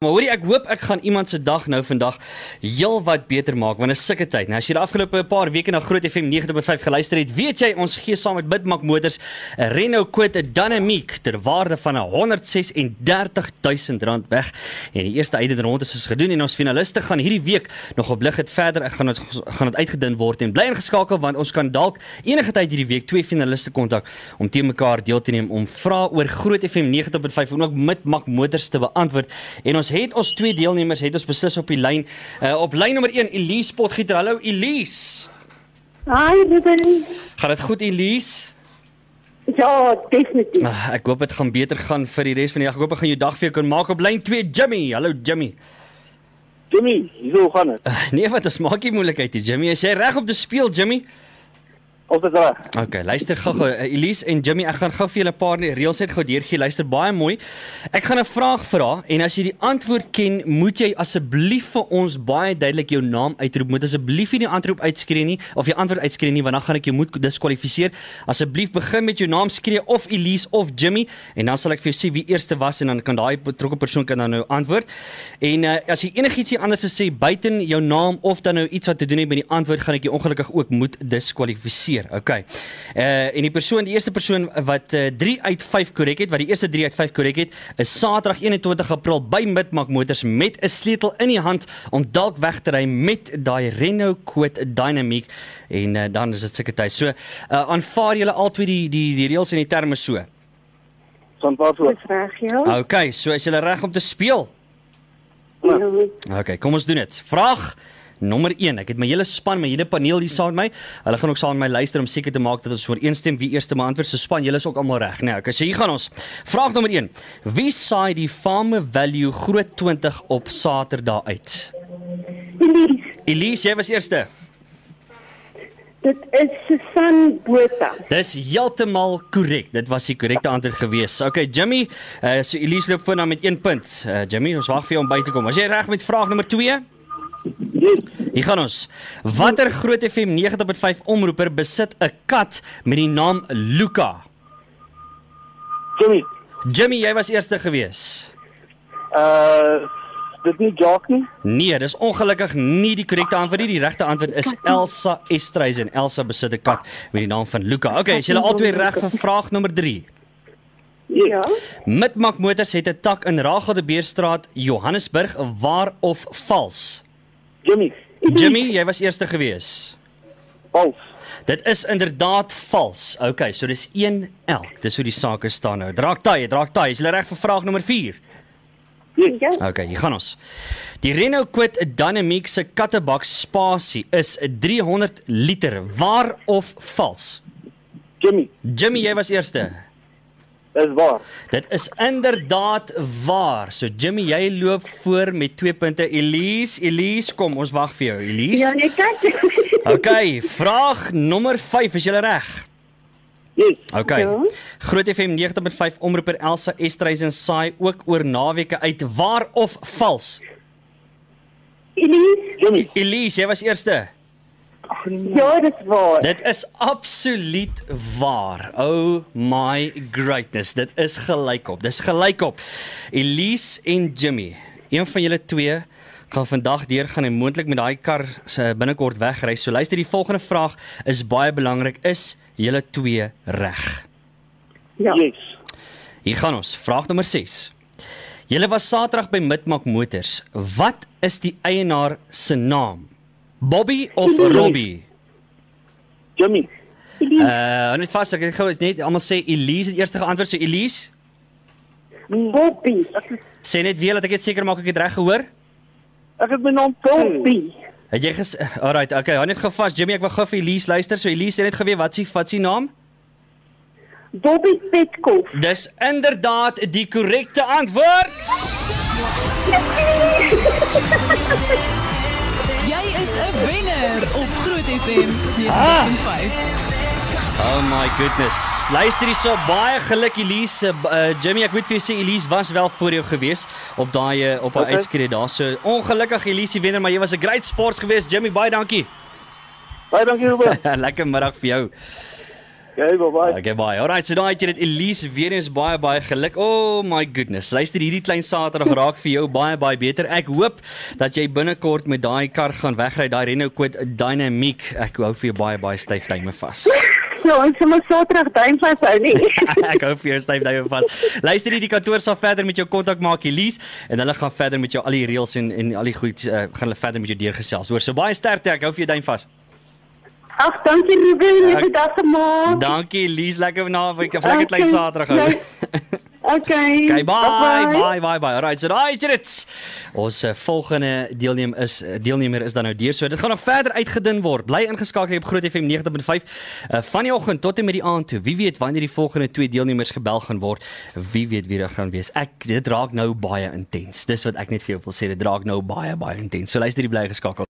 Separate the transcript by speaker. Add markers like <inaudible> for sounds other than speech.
Speaker 1: Maar hoorie, ek hoop ek gaan iemand se dag nou vandag heelwat beter maak want dit is sulke tyd. Nou as jy die afgelope paar weke na Groot FM 90.5 geluister het, weet jy ons gee saam met Bidmak Motors 'n Renault Quid Dynamique ter waarde van R136 000 weg. En die eerste uitdaging rond is ons gedoen en ons finaliste gaan hierdie week nog op lig het verder. Ek gaan dit gaan dit uitgedin word en bly ingeskakel want ons kan dalk enige tyd hierdie week twee finaliste kontak om te mekaar deel te neem om vrae oor Groot FM 90.5 en ook Midmak Motors te beantwoord. En ons het ons twee deelnemers het ons beslis op die lyn. Uh, op lyn nommer 1 Elise Potgieter. Hallo Elise.
Speaker 2: Hi Ruben.
Speaker 1: Gaan dit goed Elise?
Speaker 2: Ja, definitief.
Speaker 1: Uh, ek hoop dit gaan beter gaan vir die res van die dag. Ek hoop ek gaan jou dag vir jou kan maak op lyn 2 Jimmy. Hallo Jimmy.
Speaker 3: Jimmy, hierso gaan dit.
Speaker 1: Uh, nee, wat ons maak nie moeilikheid hier Jimmy. Is jy reg om te speel Jimmy?
Speaker 3: Ons is reg.
Speaker 1: Okay, luister gou-gou. Uh, Elise en Jimmy, ek gaan gou vir julle 'n paar reëls uit gou deurgee. Luister baie mooi. Ek gaan 'n vraag vra en as jy die antwoord ken, moet jy asseblief vir ons baie duidelik jou naam uitroep. Moet asseblief nie die antwoord uitskree nie of die antwoord uitskree nie, want dan gaan ek jou moet diskwalifiseer. Asseblief begin met jou naam skree of Elise of Jimmy en dan sal ek vir jou sê wie eerste was en dan kan daai betrokke persoon kan dan nou antwoord. En uh, as jy enigiets hier anders te sê buiten jou naam of dan nou iets wat te doen het met die antwoord, gaan ek jou ongelukkig ook moet diskwalifiseer keer. Okay. Uh en die persoon, die eerste persoon wat uh, 3 uit 5 korrek het, wat die eerste 3 uit 5 korrek het, is Saterdag 21 April by Midmark Motors met 'n sleutel in die hand om dalk weg te ry met daai Renault Quid Dynamic en uh, dan is dit seker tyd. So uh, aanvaar julle albei die die die reëls en die terme so.
Speaker 3: Van waar so?
Speaker 2: Dis reg, ja.
Speaker 1: Okay, so is julle reg om te speel? Okay, kom ons doen dit. Vraag nommer 1. Ek het my hele span, my hele paneel hier saam met my. Hulle gaan ook saam met my luister om seker te maak dat ons ooreenstem wie eers te beantwoord. So span, julle is ook almal reg, né? Nee, okay, so hier gaan ons. Vraag nommer 1. Wie saai die Fame Value Groot 20 op Saterdag uit?
Speaker 2: Elise,
Speaker 1: Elise, jy was eerste.
Speaker 2: dit is Susan Botha.
Speaker 1: Dis heeltemal korrek. Dit was die korrekte antwoord gewees. Okay, Jimmy, uh, so Elise loop voorna met 1 punt. Uh, Jimmy, ons wag vir jou om by te kom. Was jy reg met vraag nommer 2?
Speaker 3: Yes.
Speaker 1: Hier gaan ons. Watter groot FM 90.5 omroeper besit 'n kat met die naam Luka?
Speaker 3: Jimmy,
Speaker 1: Jimmy, jy was eerste gewees.
Speaker 3: uh dit nie joke nie.
Speaker 1: Nee, dis ongelukkig nie die korrekte antwoord nie. Die regte antwoord is Elsa Estreisen. Elsa besit 'n kat met die naam van Luka. Okay, is julle albei reg vir vraag nommer 3?
Speaker 2: Ja.
Speaker 1: Midmak Motors het 'n tak in Ragel de Beerstraat, Johannesburg, waar of vals?
Speaker 3: Jimmy,
Speaker 1: Jimmy, jy was eerste gewees.
Speaker 3: vals.
Speaker 1: Dit is inderdaad vals. Okay, so dis 1L. Dis hoe die sake staan nou. Draak taai, draak taai. Is jy reg vir vraag nommer 4?
Speaker 3: Yes.
Speaker 2: Ja.
Speaker 1: Okay, hier gaan ons. Die Renault Quid Dynamic se kattebak spasie is 300 liter. Waar of vals?
Speaker 3: Jimmy,
Speaker 1: Jimmy, jy was eerste.
Speaker 3: dis waar.
Speaker 1: Dit is inderdaad waar. So Jimmy, jy loop voor met 2 punte. Elise, Elise, kom, ons wag vir jou,
Speaker 2: Ja,
Speaker 1: Elise.
Speaker 2: nee, kyk.
Speaker 1: Okay, vraag nommer 5, is jy reg?
Speaker 3: Yes.
Speaker 1: Okay.
Speaker 2: Ja.
Speaker 1: Groot FM 90.5 omroeper Elsa Estreisen saai ook oor naweke uit waar of vals.
Speaker 2: <laughs> Elise,
Speaker 3: Jimmy,
Speaker 1: Elise, jy was eerste.
Speaker 2: ja, dis waar.
Speaker 1: Dit is absoluut waar. Oh my greatness. Dit is gelykop. Dis gelykop. Elise en Jimmy, een van julle twee gaan vandag deurgaan en moontlik met daai kar se binnekort wegry. So luister, die volgende vraag is baie belangrik. Is julle twee reg?
Speaker 2: Ja.
Speaker 3: yes.
Speaker 1: Hier gaan ons, vraag nommer 6. Julle was Saterdag by Midmak Motors. Wat is die eienaar se naam? Bobby of Robbie?
Speaker 3: Jimmy,
Speaker 1: Uh, hou net vas, ek het gou net almal sê Elise het eers geantwoord, so Elise,
Speaker 2: Bobby.
Speaker 1: sê net weer dat ek dit seker maak ek het reg gehoor.
Speaker 3: ek het my naam Bobby.
Speaker 2: Bobby.
Speaker 1: Het jy ges Alrite, okay, hou net gou vas, Jimmy, ek wil gou vir Elise luister. So Elise sê net geweet wat s'ie wat s'ie naam?
Speaker 2: Bobby Petkoff.
Speaker 1: Dis inderdaad die korrekte antwoord.
Speaker 4: Jy is 'n wenner op Groot FM 95.5.
Speaker 1: Oh my goodness. Luister hierso, baie geluk Elise. Uh, Jimmy, ek moet vir jou sê Elise was wel voor jou gewees op daai uh, op haar okay.
Speaker 3: Okay.
Speaker 1: uitskree daar. So ongelukkig Elise wenner, maar jy was 'n great <laughs> sports geweest. Jimmy, baie dankie.
Speaker 2: <laughs>
Speaker 3: Baie dankie Ruben.
Speaker 1: Lekker middag vir jou.
Speaker 3: Okay, bye bye.
Speaker 1: Okay, baie. Alrite, so daai het jy dit Elise weer eens baie baie geluk. Oh my goodness. Luister, hierdie klein Saterdag raak vir jou baie baie beter. Ek hoop dat jy binnekort met daai kar gaan wegry, daai Renault Quid Dynamic. Ek hou vir jou baie baie styf duime vas.
Speaker 2: So, ons sal maar Saterdag duim vashou nie.
Speaker 1: <laughs>
Speaker 3: <laughs>
Speaker 1: ek hou vir jou styf duime vas. Luister, hierdie kantoor sal verder met jou kontak maak, Elise, en hulle gaan verder met jou al die reëls en en al die goed uh, gaan hulle verder met jou deurgesels. Hoor, so baie sterkte. Ek hou vir jou duim vas.
Speaker 2: Ag, dankie Ruben, jy het dag gemaak.
Speaker 1: Dankie, Elise. Lekker naweek. 'n Lekker klein
Speaker 2: Okay,
Speaker 1: Saterdag hou.
Speaker 2: lekker. Okay.
Speaker 1: Okay, bye, bye, bye, bye. Alright, so daai is dit. Ons eh, volgende deelneem is eh, deelnemer is dan nou deur. So dit gaan nog verder uitgedun word. Bly ingeskakel hier op Groot FM 90.5 uh, van die oggend tot en met die aand toe. Wie weet wanneer die volgende twee deelnemers gebel gaan word. Wie weet wie dit gaan wees. Ek dit raak nou baie intens. Dis wat ek net vir jou wil sê. Dit raak nou baie baie intens. So luister, die bly geskakel.